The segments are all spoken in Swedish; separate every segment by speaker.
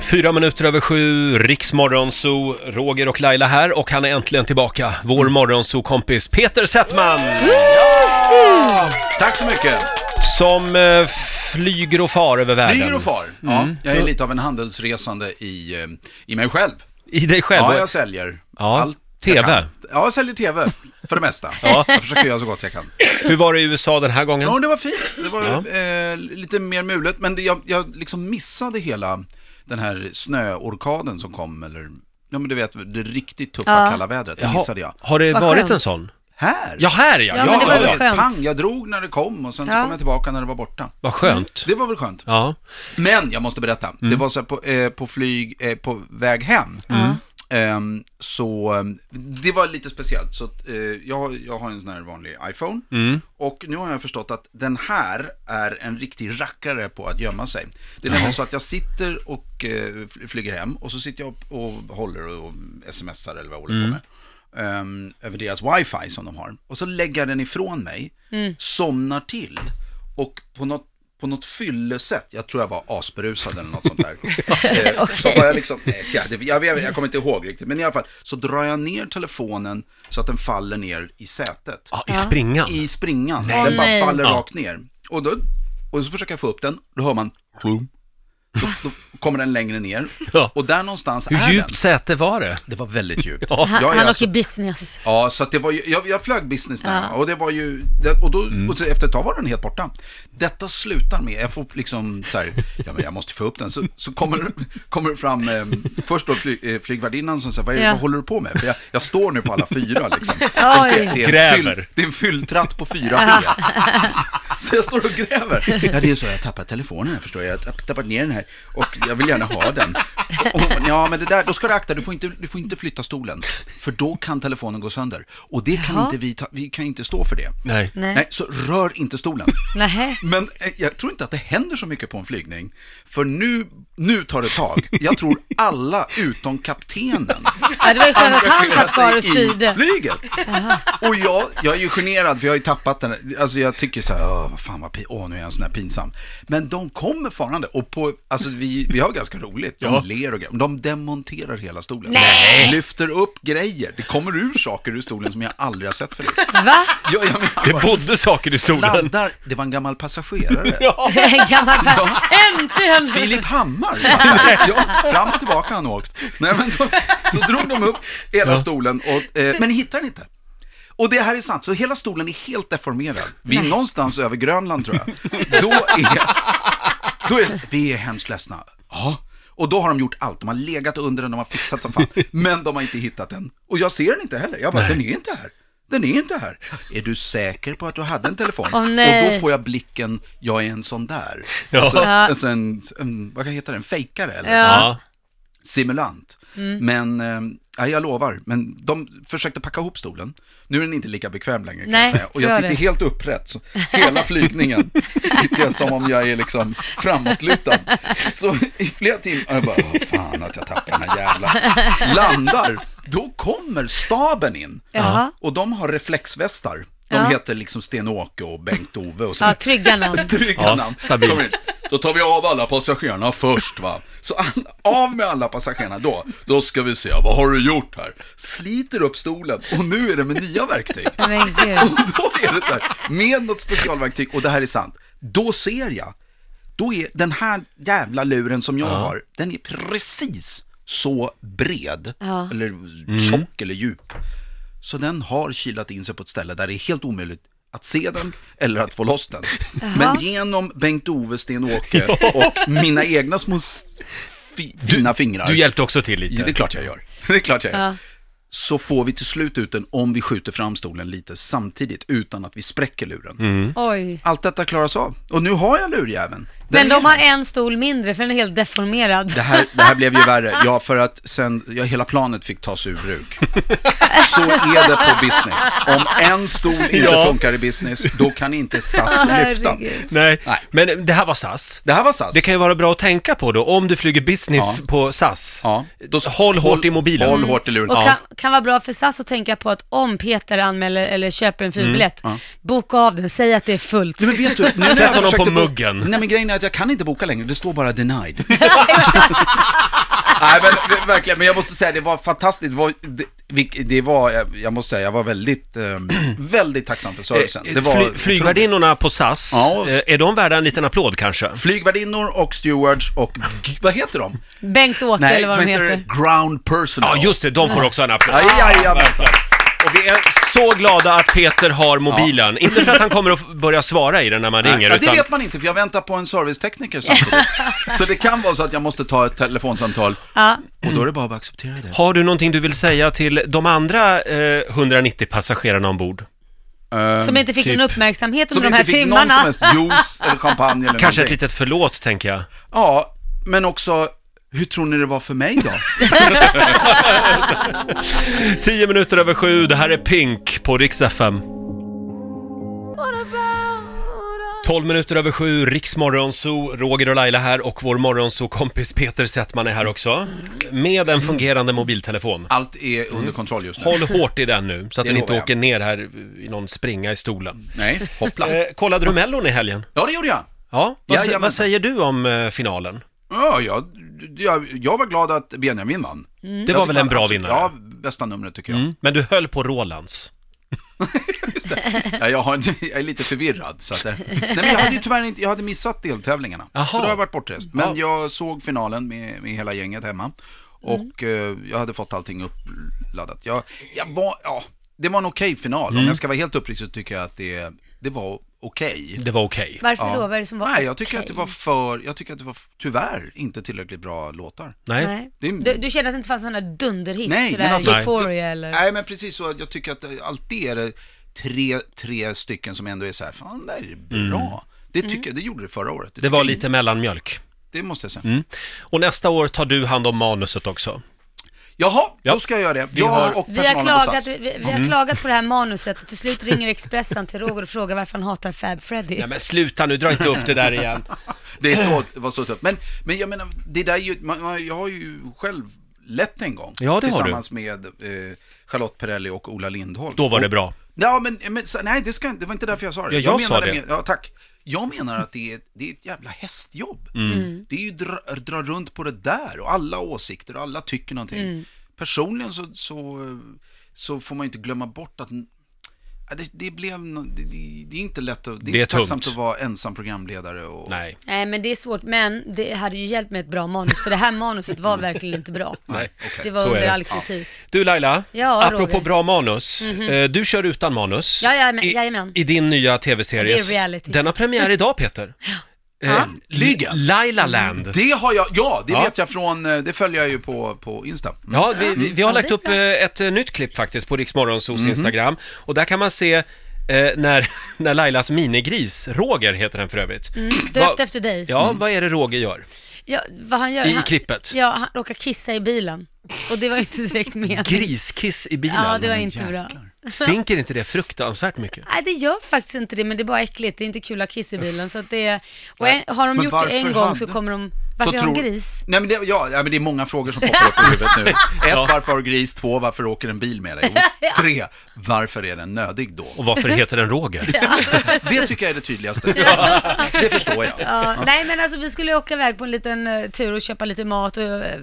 Speaker 1: Fyra minuter över sju, Riksmorgonzoo, Roger och Laila här och han är äntligen tillbaka. Vår
Speaker 2: Mm.
Speaker 1: morgonzoo-kompis Peter Settman
Speaker 2: Tack så mycket.
Speaker 1: som eh, flyger och far över världen.
Speaker 2: Flyger och far.
Speaker 1: Mm.
Speaker 2: Ja, Jag är lite av en handelsresande i, eh, i mig själv.
Speaker 1: I dig själv.
Speaker 2: Ja, jag säljer
Speaker 1: Ja,
Speaker 2: allt
Speaker 1: TV.
Speaker 2: jag kan. Ja, jag säljer TV för det mesta. Jag försöker göra så gott jag kan.
Speaker 1: Hur var det i USA den här gången?
Speaker 2: Ja, det var fint. Det var eh, lite mer mulet, men det, jag, jag liksom missade hela den här snöorkaden som kom, eller ja, men du vet, det riktigt tuffa
Speaker 3: Ja.
Speaker 2: kalla vädret. Det
Speaker 1: Jaha,
Speaker 2: missade jag.
Speaker 1: Har det
Speaker 3: Vad
Speaker 1: varit
Speaker 3: skönt.
Speaker 1: en sån?
Speaker 2: Här!
Speaker 1: Ja, här ja!
Speaker 3: Ja,
Speaker 1: ja.
Speaker 3: men det var väl
Speaker 2: jag-
Speaker 3: skönt.
Speaker 2: Pang, jag drog när det kom och sen så
Speaker 3: Ja.
Speaker 2: kom jag tillbaka när det var borta.
Speaker 1: Vad skönt.
Speaker 3: Mm.
Speaker 2: Det var väl skönt.
Speaker 1: Ja.
Speaker 2: Men jag måste berätta, det var så här på, eh, på flyg, eh, på väg hem. Ehm, så eh, det var lite speciellt. Så att, eh, jag, jag har en sån här vanlig iPhone. Och nu har jag förstått att den här är en riktig rackare på att gömma sig. Det är nämligen så att jag sitter och eh, fly- flyger hem och så sitter jag och, och håller och, och smsar eller vad jag håller på med. Ehm, över deras wifi som de har. Och så lägger jag den ifrån mig,
Speaker 1: Mm.
Speaker 2: somnar till och på något på något fyllesätt, jag tror jag var asberusad eller något sånt där. Eh, Så var jag liksom, nej, tja, det- jag, jag, jag kommer inte ihåg riktigt, men i alla fall så drar jag ner telefonen så att den faller ner i sätet.
Speaker 1: ja, i springan.
Speaker 2: I springan,
Speaker 3: Nej.
Speaker 2: den
Speaker 3: Åh, nej.
Speaker 2: bara faller
Speaker 1: Ja.
Speaker 2: rakt ner. Och, då, och så försöker jag få upp den, då hör man klum. Då, då kommer den längre ner.
Speaker 1: Ja.
Speaker 2: Och där någonstans
Speaker 1: Hur
Speaker 2: är
Speaker 1: djupt
Speaker 2: den.
Speaker 1: säte var det?
Speaker 2: Det var väldigt djupt.
Speaker 3: Han,
Speaker 2: Jag är
Speaker 3: han
Speaker 2: alltså-
Speaker 3: åker business.
Speaker 2: Ja, så att det var ju, jag, jag flög business när
Speaker 3: Ja. Mm.
Speaker 2: och det var ju, det, och då, och så efter ett tag var den helt borta. Detta slutar med, jag får liksom så här, ja men jag måste få upp den, så, så kommer, kommer det fram, eh, först då fly, eh, flygvärdinnan som säger, vad, är, det-
Speaker 3: Ja.
Speaker 2: vad håller du på med? För jag, jag står nu på alla fyra liksom.
Speaker 3: Oj.
Speaker 2: Det är en fyll-
Speaker 1: Gräver.
Speaker 2: Det är en fylltratt på fyra ben. Så jag står och gräver. Ja, det är så, jag har tappat telefonen, jag förstår jag. Jag har tappat ner den här och jag vill gärna ha den. Och hon bara, ja, men det där, då ska du akta, du får, inte, du får inte flytta stolen, för då kan telefonen gå sönder. Och det kan
Speaker 3: Jaha.
Speaker 2: inte vi, ta, vi kan inte stå för det.
Speaker 1: Nej.
Speaker 3: Nej.
Speaker 2: Nej, så rör inte stolen.
Speaker 3: Nähä.
Speaker 2: Men eh, jag tror inte att det händer så mycket på en flygning, för nu, nu tar det tag. Jag tror alla utom kaptenen
Speaker 3: Ja, det var ju skönt att han satt kvar och
Speaker 2: sig i
Speaker 3: styrde.
Speaker 2: flyget. Och jag, jag är ju generad för jag har ju tappat den. Alltså jag tycker så här, åh, vad fan vad pin- åh, nu är jag en sån här pinsam. Men de kommer farande och på, alltså vi, vi har ganska roligt. De ler och grejer. De demonterar hela stolen.
Speaker 3: Nej.
Speaker 2: Lyfter upp grejer. Det kommer ur saker ur stolen som jag aldrig har sett förut.
Speaker 3: Va?
Speaker 2: Jag, jag menar,
Speaker 1: Det bodde saker i stolen.
Speaker 2: Sladdar, det var en gammal passagerare.
Speaker 3: En gammal pappa. Äntligen!
Speaker 2: Filip Hammar! ja, fram och tillbaka har han åkt. Nej, men då, så drog de upp hela stolen, och, eh, men hittade den inte. Och det här är sant, så hela stolen är helt deformerad. Vi är någonstans över Grönland tror jag. Då är, då är vi är hemskt ledsna. Ja. Och då har de gjort allt, de har legat under den, de har fixat som fan. Men de har inte hittat den. Och jag ser den inte heller. Jag bara, den är inte här. Den är inte här. Är du säker på att du hade en telefon?
Speaker 3: Åh, nej.
Speaker 2: Och då får jag blicken, jag är en sån där.
Speaker 1: Ja.
Speaker 2: Alltså,
Speaker 3: Ja.
Speaker 2: alltså en, en, vad heter det, en fejkare eller
Speaker 3: Ja. Mm.
Speaker 1: Ja.
Speaker 2: simulant. Men, eh, nej, jag lovar, men de försökte packa ihop stolen. Nu är den inte lika bekväm längre kan
Speaker 3: Nej,
Speaker 2: jag säga. Och
Speaker 3: tror
Speaker 2: jag
Speaker 3: jag
Speaker 2: sitter
Speaker 3: det.
Speaker 2: helt upprätt, så hela flygningen sitter jag som om jag är liksom framåtlutad. Så i flera timmar, jag bara, "Åh, fan att jag tappar den här jävla. Landar, då kommer staben in.
Speaker 3: Jaha.
Speaker 2: Och de har reflexvästar. De
Speaker 3: Ja.
Speaker 2: heter liksom Sten-Åke och Bengt-Ove och så
Speaker 3: Ja, trygga någon.
Speaker 2: Trygga
Speaker 1: Ja,
Speaker 2: namn.
Speaker 1: stabilt.
Speaker 2: Kom in. Då tar vi av alla passagerarna först va. Så alla- av med alla passagerarna då. Då ska vi se, vad har du gjort här? Sliter upp stolen och nu är det med nya verktyg.
Speaker 3: Men
Speaker 2: Och
Speaker 3: gud.
Speaker 2: då är det så här, med något specialverktyg, och det här är sant, då ser jag, då är den här jävla luren som jag har, den är precis så bred,
Speaker 3: Ja.
Speaker 2: eller
Speaker 1: Mm.
Speaker 2: tjock eller djup. Så den har kilat in sig på ett ställe där det är helt omöjligt att se den eller att få loss den. Men genom Bengt-Ove, Sten-Åke och mina egna små s- fi- fina fingrar.
Speaker 1: Du hjälpte också till lite.
Speaker 2: Ja, det är klart jag gör. Det är klart jag gör.
Speaker 3: Ja.
Speaker 2: Så får vi till slut ut den om vi skjuter fram stolen lite samtidigt utan att vi spräcker luren.
Speaker 1: Mm.
Speaker 3: Oj.
Speaker 2: Allt detta klaras av. Och nu har jag lurjäveln. Den
Speaker 3: Men de
Speaker 2: är-
Speaker 3: har en stol mindre för den är helt deformerad.
Speaker 2: det här, det här blev ju värre. Ja, för att sen, ja, hela planet fick tas ur bruk. Så är det på business. Om en stol inte
Speaker 1: Ja.
Speaker 2: funkar i business, då kan inte SAS lyfta.
Speaker 3: Herregud.
Speaker 1: Nej.
Speaker 2: Nej.
Speaker 1: men det här var SAS.
Speaker 2: Det här var SAS.
Speaker 1: Det kan ju vara bra att tänka på då, om du flyger business på SAS.
Speaker 2: Ja, då-
Speaker 1: håll hårt i mobilen.
Speaker 2: Håll hårt i luren.
Speaker 3: Och
Speaker 2: Ja.
Speaker 3: kan, kan vara bra för SAS att tänka på att om Peter anmäler eller köper en flygbiljett, boka av den, säg att det är fullt.
Speaker 2: Mm, Nej men vet du, nu när
Speaker 1: Sätt
Speaker 2: jag
Speaker 1: honom på
Speaker 2: försökte bo-
Speaker 1: muggen.
Speaker 2: Nej men grejen är att jag kan inte boka längre, det står bara denied. Nej men verkligen, men jag måste säga det var fantastiskt. Det var, det, vilk- det var eh, jag måste säga, jag var väldigt, ehm, väldigt tacksam för servicen. Det var
Speaker 1: Eh, Fly, flygvärdinnorna på SAS,
Speaker 2: Ja, och-
Speaker 1: eh, är de värda en liten applåd kanske?
Speaker 2: Flygvärdinnor och stewards och,
Speaker 1: Mm.
Speaker 2: g- vad heter de?
Speaker 3: Bengt-Åke eller vad de heter.
Speaker 2: ground personal.
Speaker 1: Ja, just det, de får också en applåd. Alltså.
Speaker 2: Ja, jajamensan.
Speaker 1: Och vi är så glada att Peter har mobilen. Inte för att han kommer att börja svara i den när man ringer,
Speaker 2: ja, det
Speaker 1: utan...
Speaker 2: vet man inte, för jag väntar på en servicetekniker samtidigt. så det kan vara så att jag måste ta ett telefonsamtal,
Speaker 3: Ja.
Speaker 2: och då är det bara att acceptera det.
Speaker 1: Har du någonting du vill säga till de andra eh, 190 passagerarna ombord?
Speaker 3: Som inte fick
Speaker 1: typ.
Speaker 3: någon uppmärksamhet
Speaker 2: Mm, Som
Speaker 3: under de här
Speaker 2: inte fick någon
Speaker 3: timmarna.
Speaker 2: som helst juice eller champagne eller
Speaker 1: Kanske ett
Speaker 2: någonting.
Speaker 1: litet förlåt, tänker jag.
Speaker 2: Ja, men också, hur tror ni det var för mig då?
Speaker 1: 10 minuter över sju, det här är Pink på Rix FM. 12 minuter över sju, Riksmorgonzoo, Roger och Laila här och vår morgonzoo-kompis Peter Settman är här också. Med en fungerande mobiltelefon.
Speaker 2: Allt är under kontroll just nu.
Speaker 1: Håll hårt i den nu, så att
Speaker 2: Det
Speaker 1: den inte
Speaker 2: lovar jag.
Speaker 1: åker ner här i någon springa i stolen.
Speaker 2: Nej, hoppla.
Speaker 1: Eh, kollade du Mellon i helgen?
Speaker 2: Ja, det gjorde jag.
Speaker 1: Ja, vad, sä-
Speaker 2: Jajamän.
Speaker 1: vad säger du om eh, finalen?
Speaker 2: Ja, jag, jag, jag var glad att Benjamin vann.
Speaker 3: Mm.
Speaker 1: Det
Speaker 2: Jag
Speaker 1: var
Speaker 2: tycker
Speaker 1: väl en
Speaker 2: han
Speaker 1: bra
Speaker 2: absolut-
Speaker 1: vinnare?
Speaker 2: Mm. Alltså, Ja, bästa numret tycker jag.
Speaker 1: Mm, Men du höll på Rolands.
Speaker 2: Just det. Ja, jag, har, jag är lite förvirrad. Så att det, nej, men jag hade ju tyvärr inte, jag hade missat deltävlingarna.
Speaker 1: Jaha.
Speaker 2: Så då har jag varit bortrest. Men
Speaker 1: Ja.
Speaker 2: jag såg finalen med, med hela gänget hemma. Och
Speaker 3: Mm.
Speaker 2: eh, jag hade fått allting uppladdat. Jag, jag var, ja, det var en okej final.
Speaker 3: Mm.
Speaker 2: Om jag ska vara helt uppriktig så tycker jag att det, det var okej.
Speaker 1: Det var okej.
Speaker 3: Varför
Speaker 2: Ja.
Speaker 3: då? Vad är det som var
Speaker 2: Nej, jag tycker att det
Speaker 3: okej?
Speaker 2: var för, jag tycker att det var f- tyvärr inte tillräckligt bra låtar.
Speaker 1: Nej.
Speaker 3: Nej.
Speaker 2: Det är-
Speaker 3: Du, du kände att det inte fanns sådana dunderhits?
Speaker 2: Nej,
Speaker 3: sådär,
Speaker 2: men alltså-
Speaker 1: Nej.
Speaker 3: Euphoria eller?
Speaker 2: Nej, men precis så, att jag tycker att det- alltid är det tre, tre stycken som ändå är så här, fan det här är bra. Det
Speaker 3: Mm.
Speaker 2: tycker jag, det gjorde det förra året.
Speaker 1: Mm. Det
Speaker 2: tycker
Speaker 1: var
Speaker 2: jag-
Speaker 1: lite mellanmjölk.
Speaker 2: Det måste jag säga.
Speaker 1: Mm. Och nästa år tar du hand om manuset också.
Speaker 2: Jaha,
Speaker 1: Ja.
Speaker 2: då ska jag göra det.
Speaker 1: Vi
Speaker 2: Jag
Speaker 1: har-
Speaker 2: och
Speaker 3: Vi har,
Speaker 2: personalen på
Speaker 3: klagat,
Speaker 2: SAS. Mm.
Speaker 3: vi, vi har klagat på det här manuset och till slut ringer Expressen till Roger och frågar varför han hatar Fab Freddy.
Speaker 1: Nej men sluta nu, dra inte upp det där igen.
Speaker 2: Det är så, det var så tufft. Men, men jag menar, det där är ju, man, man, jag har ju själv lett en gång.
Speaker 1: Ja, det har du.
Speaker 2: tillsammans med eh, Charlotte Perrelli och Ola Lindholm.
Speaker 1: Då var det
Speaker 2: Och-
Speaker 1: bra.
Speaker 2: Ja, men, men så- nej, det, ska, det var inte därför jag sa det.
Speaker 1: Ja, jag sa
Speaker 2: menade
Speaker 1: det.
Speaker 2: Med, ja, tack. Jag menar att det är, det är ett jävla hästjobb.
Speaker 1: Mm.
Speaker 2: Det är ju dra, dra runt på det där och alla åsikter och alla tycker någonting. Personligen så, så, så får man ju inte glömma bort att ja, det, det blev nå- det, det, det är inte lätt att, det är,
Speaker 1: Det är
Speaker 2: inte tacksamt
Speaker 1: tungt.
Speaker 2: att vara ensam programledare och
Speaker 1: Nej.
Speaker 3: Nej men det är svårt, men det hade ju hjälpt med ett bra manus för det här manuset var verkligen inte bra.
Speaker 1: Nej.
Speaker 3: Det var
Speaker 1: Så är
Speaker 3: under
Speaker 1: det.
Speaker 3: all kritik.
Speaker 1: Du Laila,
Speaker 3: Ja,
Speaker 1: apropå
Speaker 3: Roger. Mhm.
Speaker 1: bra manus. eh, Du kör utan manus.
Speaker 3: Ja, jajamän-
Speaker 1: I-
Speaker 3: jajamän.
Speaker 1: I din nya tv-serie.
Speaker 3: Det är reality.
Speaker 1: Den har premiär idag Peter. Eh,
Speaker 2: Äntligen.
Speaker 1: Laila Land.
Speaker 2: Det har jag, ja, det
Speaker 1: Ja.
Speaker 2: vet jag från, eh, det följer jag ju på, på Insta. Mm.
Speaker 1: Ja, vi, vi, vi har
Speaker 3: Ja,
Speaker 1: lagt
Speaker 3: det är
Speaker 1: upp eh, ett eh, nytt klipp faktiskt på Riksmorgonsos Instagram och där kan man se eh, när, när Lailas minigris, Roger heter den för övrigt.
Speaker 3: Mm, Döpt
Speaker 1: Va-
Speaker 3: efter dig.
Speaker 1: Ja, vad är det Roger gör?
Speaker 3: Ja, vad han gör,
Speaker 1: I- i
Speaker 3: han,
Speaker 1: klippet.
Speaker 3: Ja, han råkar kissa i bilen. Och det var ju inte direkt meningen.
Speaker 1: Griskiss i bilen.
Speaker 3: Ja, det var inte bra.
Speaker 2: jäklar.
Speaker 1: Stinker inte det fruktansvärt mycket?
Speaker 3: Nej, det gör faktiskt inte det, men det är bara äckligt. Det är inte kul att ha kiss i bilen. Så att det är, och en, har de
Speaker 2: Men
Speaker 3: gjort det
Speaker 2: varför
Speaker 3: en gång
Speaker 2: hade-
Speaker 3: så kommer de... Varför har de gris?
Speaker 2: Nej, men det, ja, ja, men det är många frågor som poppar upp i huvudet nu. Ett, varför har du gris? Två, varför åker en bil med dig? Och tre, varför är den nödig då?
Speaker 1: Och varför heter den Roger?
Speaker 2: Det tycker jag är det tydligaste. Det förstår jag.
Speaker 3: Ja, Nej men alltså vi skulle ju åka iväg på en liten eh, tur och köpa lite mat och eh,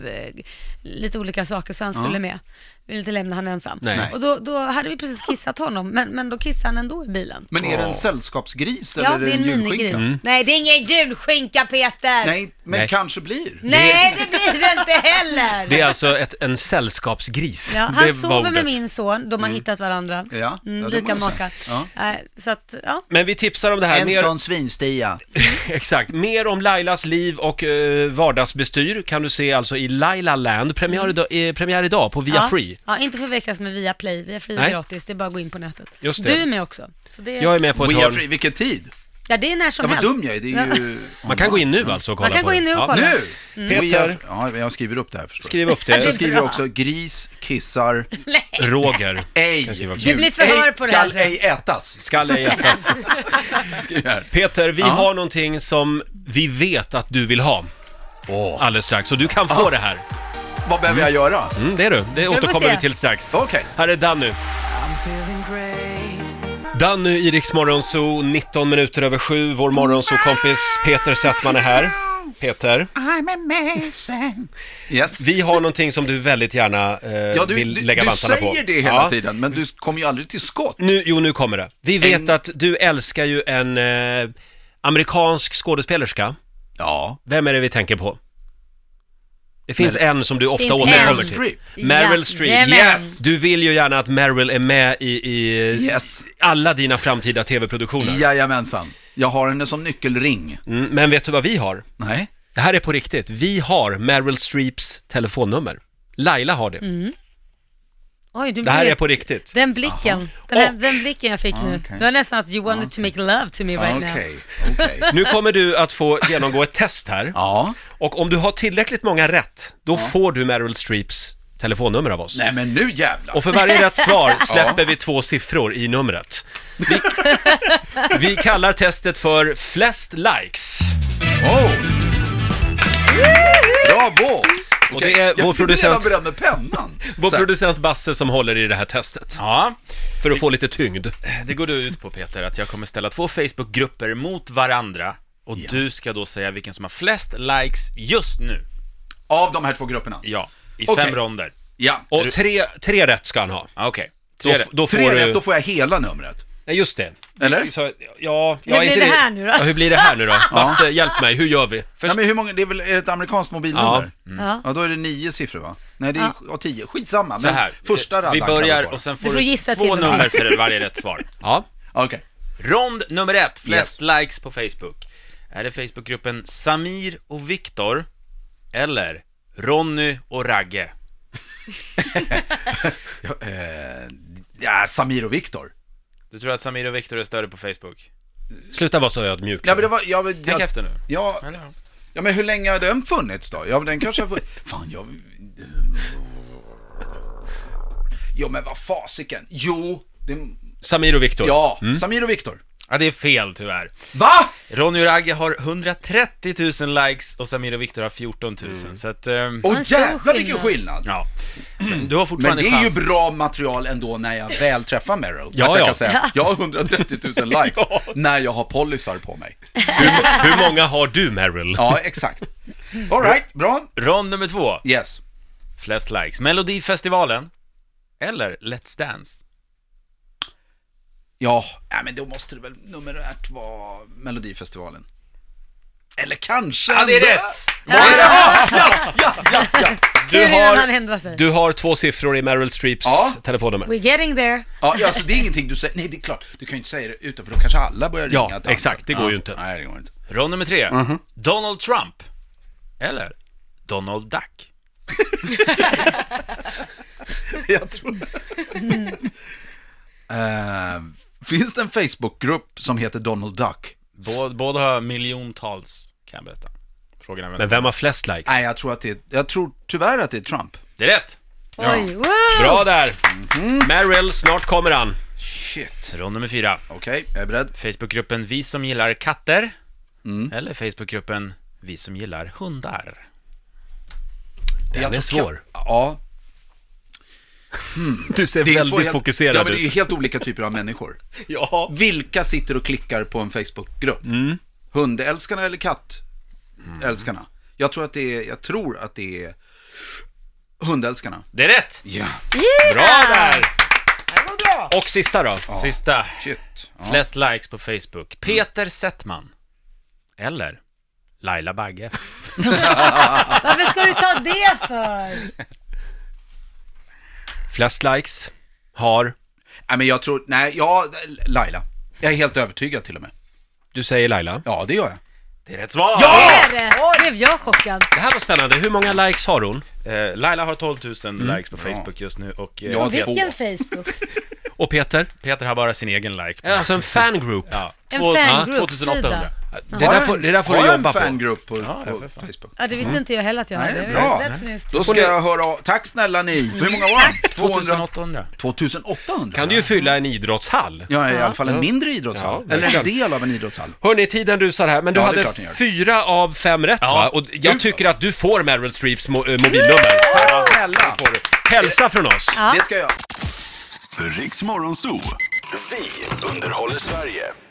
Speaker 3: lite olika saker så han skulle med. Vi ville inte lämna han ensam.
Speaker 1: Nej.
Speaker 3: Och då, då hade vi precis kissat honom men, men då kissade han ändå i bilen.
Speaker 2: Men är det en sällskapsgris
Speaker 3: ja,
Speaker 2: eller
Speaker 3: det är en
Speaker 2: julskinka?
Speaker 3: minigris. Nej det är ingen julskinka Peter!
Speaker 2: Mm. Nej, men
Speaker 1: Nej.
Speaker 2: kanske blir.
Speaker 3: Nej, det blir det inte heller!
Speaker 1: Det är alltså ett, en sällskapsgris.
Speaker 3: Ja,
Speaker 1: det Mm.
Speaker 3: han
Speaker 1: var
Speaker 3: sover med
Speaker 1: ordet.
Speaker 3: min son, de har hittat varandra.
Speaker 2: Ja, ja,
Speaker 3: mm,
Speaker 2: det
Speaker 3: lika
Speaker 2: må jag
Speaker 3: makar.
Speaker 2: säga.
Speaker 3: Eh, Så att, ja.
Speaker 1: Men vi tipsar om det här. Mer,
Speaker 2: svinstia.
Speaker 1: exakt, mer om Lailas liv och eh, vardagsbestyr kan du se alltså i Laila Land. Premiär, idag, eh, premiär idag på Via
Speaker 3: Mm. ja.
Speaker 1: Free.
Speaker 3: Ja, inte förväxlas med Viaplay. Viaplay
Speaker 1: Nej.
Speaker 3: är gratis, det är bara att gå in på nätet.
Speaker 1: Just det.
Speaker 3: Du är med också. Så det,
Speaker 1: Jag är med på ett
Speaker 2: We are
Speaker 1: hörn.
Speaker 2: free, vilken tid?
Speaker 3: Ja, det är när som
Speaker 2: Ja, vad
Speaker 3: helst.
Speaker 2: dum jag är. Det är ju...
Speaker 1: Man kan gå in nu alltså och kolla
Speaker 3: Mm.
Speaker 1: på
Speaker 3: Man kan gå
Speaker 1: det.
Speaker 3: in nu och
Speaker 1: Ja.
Speaker 3: kolla.
Speaker 2: Nu!
Speaker 3: Mm.
Speaker 2: We are-
Speaker 1: Peter.
Speaker 2: Ja, jag skriver upp det här förstår
Speaker 1: Skriv upp
Speaker 2: du. Så
Speaker 1: det.
Speaker 2: skriver jag också gris, kissar,
Speaker 1: Roger.
Speaker 2: ej,
Speaker 1: Jag skriver också.
Speaker 2: djur,
Speaker 3: Det blir förhör
Speaker 2: ej,
Speaker 3: på det här
Speaker 2: skall ej ätas.
Speaker 1: Skall ej ätas.
Speaker 2: Skriver jag här.
Speaker 1: Peter, vi har någonting som vi vet att du vill ha
Speaker 2: Åh.
Speaker 1: alldeles strax och du kan få det här.
Speaker 2: Vad behöver jag göra?
Speaker 1: Ah. Mm, det är du. Det
Speaker 3: få
Speaker 1: återkommer
Speaker 3: se.
Speaker 1: vi till strax.
Speaker 2: Okej.
Speaker 1: Här är Danny. Danny i Rix Morgonzoo, 19 minuter över sju. Vår morgonzoo-kompis Peter Settman är här. Peter,
Speaker 2: Yes.
Speaker 1: vi har någonting som du väldigt gärna eh,
Speaker 2: Ja, du,
Speaker 1: vill
Speaker 2: du,
Speaker 1: lägga
Speaker 2: du
Speaker 1: vantarna på.
Speaker 2: säger det hela
Speaker 1: Ja.
Speaker 2: tiden, men du kommer ju aldrig till skott.
Speaker 1: Nu, jo, nu kommer det. Vi vet
Speaker 2: En-
Speaker 1: att du älskar ju en eh, amerikansk skådespelerska.
Speaker 2: Ja.
Speaker 1: Vem är det vi tänker på? Det finns en som du ofta
Speaker 3: Finns
Speaker 1: återkommer
Speaker 3: en.
Speaker 1: till.
Speaker 2: Strip.
Speaker 1: Meryl
Speaker 3: Ja,
Speaker 1: Streep.
Speaker 3: jajamän.
Speaker 2: Yes.
Speaker 1: Du vill ju gärna att Meryl är med i, i
Speaker 2: Yes.
Speaker 1: alla dina framtida tv-produktioner.
Speaker 2: Jajamensan. Jag har henne som nyckelring.
Speaker 1: Mm, men vet du vad vi har?
Speaker 2: Nej.
Speaker 1: Det här är på riktigt. Vi har Meryl Streeps telefonnummer. Laila har det.
Speaker 2: Mm,
Speaker 3: Oj, du
Speaker 1: Det här
Speaker 3: blev-
Speaker 1: är på riktigt.
Speaker 3: Den blicken, den, här,
Speaker 1: Och-
Speaker 3: den blicken jag fick nu.
Speaker 2: Ah, okej. Ah,
Speaker 3: Det var nästan att you wanted to make love to me right now.
Speaker 2: Okej, okej.
Speaker 1: Nu kommer du att få genomgå ett test här.
Speaker 2: Ja.
Speaker 1: Och om du har tillräckligt många rätt, då får du Meryl Streeps telefonnummer av oss.
Speaker 2: Nej men nu jävlar.
Speaker 1: Och för varje rätt svar släpper vi två siffror i numret. Vi, vi kallar testet för flest likes.
Speaker 2: Oh. Bravo!
Speaker 1: Och
Speaker 2: Okej,
Speaker 1: det är vår
Speaker 2: jag sitter redan
Speaker 1: producent,
Speaker 2: beredd med pennan.
Speaker 1: vår
Speaker 2: Så här.
Speaker 1: producent Basse som håller i det här testet.
Speaker 4: Ja,
Speaker 1: För att få lite tyngd.
Speaker 4: det går då ut på Peter att jag kommer ställa två Facebookgrupper mot varandra och du ska då säga vilken som har flest likes just nu.
Speaker 2: Av de här två grupperna?
Speaker 4: Ja, i
Speaker 2: Okej.
Speaker 4: fem ronder.
Speaker 2: Ja.
Speaker 1: Och tre, tre rätt ska han ha.
Speaker 4: Ja, Okej.
Speaker 1: Då,
Speaker 4: Tre rätt.
Speaker 1: då får
Speaker 2: Tre rätt,
Speaker 1: du...
Speaker 2: då får jag hela numret.
Speaker 1: Nej, just det.
Speaker 2: Eller?
Speaker 1: Så, ja, jag är
Speaker 3: Hur blir
Speaker 1: inte
Speaker 3: det
Speaker 1: riktigt-
Speaker 3: här nu då?
Speaker 1: Ja, hur blir det här nu då? Basse, hjälp mig, hur gör vi?
Speaker 2: Nej, men hur många, det är väl är det ett amerikanskt mobilnummer?
Speaker 3: Ja.
Speaker 2: Ja, då är det nio siffror va? Nej, det är ja. tio. Skitsamma,
Speaker 4: Så
Speaker 2: men
Speaker 4: här,
Speaker 2: första raddan
Speaker 4: vi
Speaker 2: kan
Speaker 4: börjar
Speaker 2: gå på.
Speaker 4: och sen får
Speaker 3: Du
Speaker 4: du,
Speaker 3: får gissa till
Speaker 4: två
Speaker 3: och med.
Speaker 4: nummer för varje rätt svar.
Speaker 1: Ja,
Speaker 2: Okej.
Speaker 4: Rond nummer ett, flest likes på Facebook. Är det Facebookgruppen Samir och Viktor eller Ronny och Ragge?
Speaker 2: Eh, ja, Samir och Viktor.
Speaker 4: Du tror att Samir och Viktor är större på Facebook?
Speaker 1: sluta vara så ödmjuk.
Speaker 2: Ja, men det var... Ja, men,
Speaker 4: Tänk
Speaker 2: jag,
Speaker 4: efter nu.
Speaker 2: ja,
Speaker 4: Eller?
Speaker 2: ja, men hur länge har den funnits då? Ja, men den kanske har funnits... Fan, jag... Jo, men vad fasiken. Jo, det...
Speaker 1: Samir och Viktor.
Speaker 2: Ja,
Speaker 4: Mm.
Speaker 2: Samir och Viktor.
Speaker 4: Ja, det är fel tyvärr.
Speaker 2: Va?
Speaker 4: Ronny och Ragge har 130 000 likes och Samir och Viktor har 14 000,
Speaker 2: Mm.
Speaker 4: så att... ehm,
Speaker 2: Åh
Speaker 3: En stor
Speaker 2: jävlar vilken
Speaker 3: skillnad.
Speaker 2: skillnad!
Speaker 4: ja. Men du har
Speaker 2: Men
Speaker 4: fortfarande
Speaker 2: det är
Speaker 4: chans.
Speaker 2: ju bra material ändå när jag väl träffar Meryl.
Speaker 1: Ja,
Speaker 2: att jag
Speaker 1: ja.
Speaker 2: kan säga, jag har 130 000 likes
Speaker 1: Ja.
Speaker 2: när jag har polisar på mig.
Speaker 1: Hur, hur många har du, Meryl?
Speaker 2: Ja, exakt. Alright, bra.
Speaker 4: Rond nummer två,
Speaker 2: Yes.
Speaker 4: flest likes. Melodifestivalen eller Let's Dance?
Speaker 2: Ja, nej, men då måste det väl numerärt vara Melodifestivalen. Eller kanske...
Speaker 4: Ja, det är
Speaker 2: ändå-
Speaker 4: rätt!
Speaker 2: Vad är det? Ja, ja, ja, ja, ja.
Speaker 1: Du
Speaker 3: Tur innan han
Speaker 1: har,
Speaker 3: ändrar sig.
Speaker 1: du har två siffror i Meryl Streeps
Speaker 2: Ja.
Speaker 1: telefonnummer.
Speaker 3: We're getting there.
Speaker 2: ja, ja alltså, det är ingenting du säger. Nej, det är klart. Du kan ju inte säga det utanför, då kanske alla börjar
Speaker 1: Ja,
Speaker 2: ringa. tanten.
Speaker 1: exakt. Det går
Speaker 2: ja.
Speaker 1: ju inte.
Speaker 2: Nej, det går inte.
Speaker 4: Rond nummer tre,
Speaker 2: Mhm.
Speaker 4: Donald Trump eller Donald Duck?
Speaker 2: Jag tror Eh, Finns det en Facebookgrupp som heter Donald Duck?
Speaker 4: Bå- Båda har miljontals, kan jag berätta. Frågan är vem.
Speaker 1: Men vem har flest likes?
Speaker 2: Nej, jag tror att det är, jag tror tyvärr att det är Trump.
Speaker 4: Det är rätt!
Speaker 3: Oj, wow.
Speaker 1: Bra där! Meryl, snart kommer han.
Speaker 2: Shit.
Speaker 4: Rond nummer fyra,
Speaker 2: Okej, jag är beredd.
Speaker 4: Facebookgruppen Vi som gillar katter
Speaker 2: Mm.
Speaker 4: eller Facebookgruppen Vi som gillar hundar?
Speaker 2: Den
Speaker 1: är svår.
Speaker 2: Ja,
Speaker 1: Du ser
Speaker 2: det är två
Speaker 1: väldigt
Speaker 2: helt-
Speaker 1: fokuserad
Speaker 2: Ja, men det är ju
Speaker 1: ut.
Speaker 2: helt olika typer av människor.
Speaker 1: Ja.
Speaker 2: Vilka sitter och klickar på en Facebookgrupp?
Speaker 1: Mm.
Speaker 2: Hundälskarna eller kattälskarna? Jag tror att det är, jag tror att det är hundälskarna.
Speaker 4: Det är rätt!
Speaker 2: Ja,
Speaker 1: Bra där! Och sista då?
Speaker 4: Sista.
Speaker 2: shit. Ja.
Speaker 4: Flest likes på Facebook. Peter Settman. Eller Laila Bagge.
Speaker 3: Varför ska du ta det för?
Speaker 1: Flest likes har...
Speaker 2: Nej, men jag tror, nej, ja, Laila. Jag är helt övertygad till och med.
Speaker 1: Du säger Laila.
Speaker 2: Ja, det gör jag.
Speaker 4: Det är rätt svar!
Speaker 3: Det
Speaker 1: Ah!
Speaker 3: är det. Blev jag chockad.
Speaker 1: Det här var spännande. Hur många likes har hon? Mm.
Speaker 4: Eh, Laila har 12 000 likes på Facebook just nu och eh,
Speaker 2: Ja,
Speaker 4: Pet-
Speaker 2: två.
Speaker 3: Vilken Facebook.
Speaker 1: Och Peter?
Speaker 4: Peter har bara sin egen like. på-
Speaker 1: Alltså en fangroup.
Speaker 4: Ja.
Speaker 3: En
Speaker 4: Två-
Speaker 3: fangroup-sida.
Speaker 4: 2800.
Speaker 1: Det, där får, det där får du jobba
Speaker 2: Har jag en
Speaker 1: på.
Speaker 2: fangrupp på,
Speaker 4: Ja,
Speaker 2: på
Speaker 4: för fan.
Speaker 2: Facebook?
Speaker 3: Ja, det visste inte jag heller att jag
Speaker 2: Mm. Nej,
Speaker 3: hade.
Speaker 2: bra.
Speaker 3: That's news to
Speaker 2: Då ska jag höra av. Tack snälla ni. Hur många var det? 200?
Speaker 4: 2800.
Speaker 2: 2800?
Speaker 1: Kan du ju fylla en idrottshall.
Speaker 2: Ja, i alla fall en mindre idrottshall.
Speaker 1: Ja,
Speaker 2: Eller en
Speaker 1: verkligen.
Speaker 2: del av en idrottshall.
Speaker 1: Hörni, tiden rusar här, men du
Speaker 2: Ja, det är
Speaker 1: hade
Speaker 2: klart den gör.
Speaker 1: fyra av fem rätt
Speaker 4: Ja.
Speaker 1: va? Och jag tycker att du får Meryl Streeps mo- eh, mobilnummer.
Speaker 2: Tack snälla.
Speaker 1: Hälsa från oss.
Speaker 2: Det ska jag.
Speaker 5: Riks Morgonzoo. Vi underhåller Sverige.